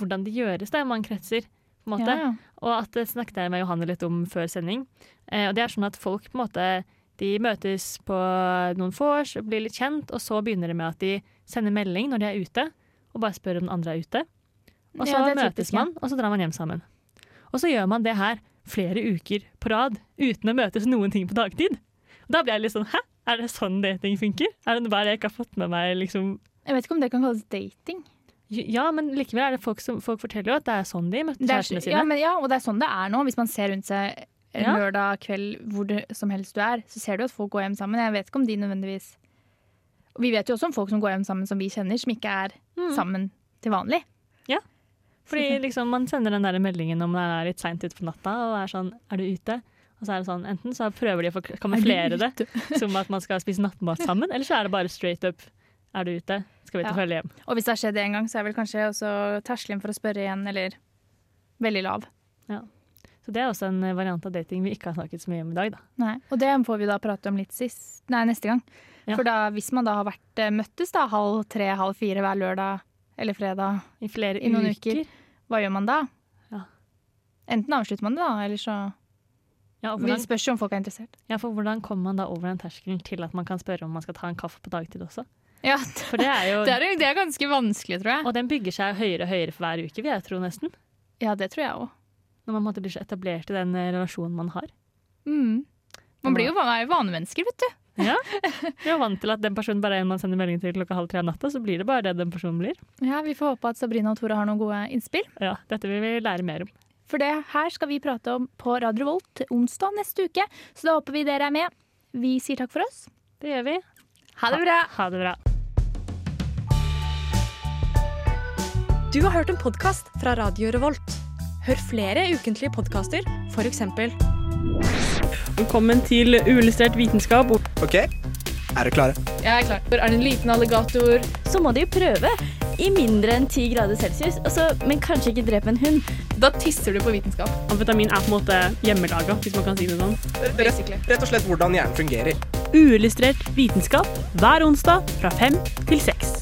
S2: hvordan det gjøres da, i mange kretser. På en måte.
S1: Ja, ja.
S2: Og at det snakket jeg med Johanne litt om før sending. Eh, og det er sånn at folk på en måte de møtes på noen vors, blir litt kjent, og så begynner det med at de sender melding når de er ute, og bare spør om den andre er ute. Og så
S1: Ja, det er
S2: møtes
S1: typisk, ja.
S2: man, og så drar man hjem sammen. Og så gjør man det her flere uker på rad uten å møtes noen ting på dagtid. Og da blir jeg litt sånn hæ? Er det sånn dating funker? Er det bare jeg ikke har fått med meg liksom
S1: Jeg vet ikke om det kan kalles dating.
S2: Ja, men likevel er det folk som folk forteller jo at det er sånn de møtte
S1: Det er,
S2: kjærestene sine.
S1: ja, men, ja, og det er sånn det er nå. Hvis man ser rundt seg en
S2: Ja.
S1: lørdag kveld hvor det, som helst du er, så ser du at folk går hjem sammen. Jeg vet ikke om de nødvendigvis Og Vi vet jo også om folk som går hjem sammen som vi kjenner, som ikke er
S2: Mm.
S1: sammen til vanlig.
S2: Fordi liksom, man sender den der meldingen om det er litt seint ute på natta, og er sånn Er du ute? Og så er det sånn, Enten så prøver de å fork- kamuflere det som at man skal spise nattmat sammen, eller så er det bare straight up. Er du ute? Skal vi
S1: Ja.
S2: ta følge hjem?
S1: Og hvis det har skjedd en gang, så er vel kanskje også terskelen for å spørre igjen eller veldig lav.
S2: Så det er også en eh, variant av dating vi ikke har snakket så mye om i dag, da.
S1: Nei, og det får vi da prate om litt sist, nei, neste gang.
S2: Ja.
S1: For da, hvis man da har vært, eh, møttes da halv tre, halv fire hver lørdag eller fredag,
S2: I flere
S1: I noen
S2: uker.
S1: uker. hva gjør man da?
S2: Ja.
S1: Enten avslutter man det da, eller så
S2: Ja, og
S1: Det
S2: hvordan,
S1: spørs jo om folk er interessert.
S2: ja, for hvordan kommer man da over den terskelen til at man kan spørre om man skal ta en kaffe på dagtid også?
S1: Ja,
S2: For det er jo
S1: det er, det er ganske vanskelig, tror jeg.
S2: Og den bygger seg høyere og høyere for hver uke, vil jeg tro nesten.
S1: Ja, det tror jeg òg.
S2: Når man på en måte blir så etablert i den eh, relasjonen man har.
S1: Mm. Man blir jo van- er jo vanemennesker, vet du.
S2: Ja. Vi er vant til at den personen bare er en man sender melding til klokka halv tre om natta, så blir det bare det den personen blir.
S1: Ja, Vi får håpe at Sabrina og Tora har noen gode innspill.
S2: Ja, Dette vil vi lære mer om.
S1: For det her skal vi prate om på Radio Volt onsdag neste uke, så da håper vi dere er med. Vi sier takk for oss.
S2: Det gjør vi.
S1: Ha det bra!
S2: Ha det bra.
S7: Du har hørt en podkast fra Radio Revolt. Hør flere ukentlige podkaster, f.eks.
S8: Velkommen til Uillustrert vitenskap.
S5: Ok, er dere klare?
S7: Jeg er klar. Er det en liten alligator?
S8: Så må de jo prøve i mindre enn 10 grader celsius, men kanskje ikke drepe en hund.
S7: Da tisser du på vitenskap.
S8: Amfetamin er på en måte hjemmelaga, hvis man kan si det sånn.
S7: Basically.
S5: Rett og slett hvordan hjernen fungerer.
S8: Uillustrert vitenskap hver onsdag fra fem til seks.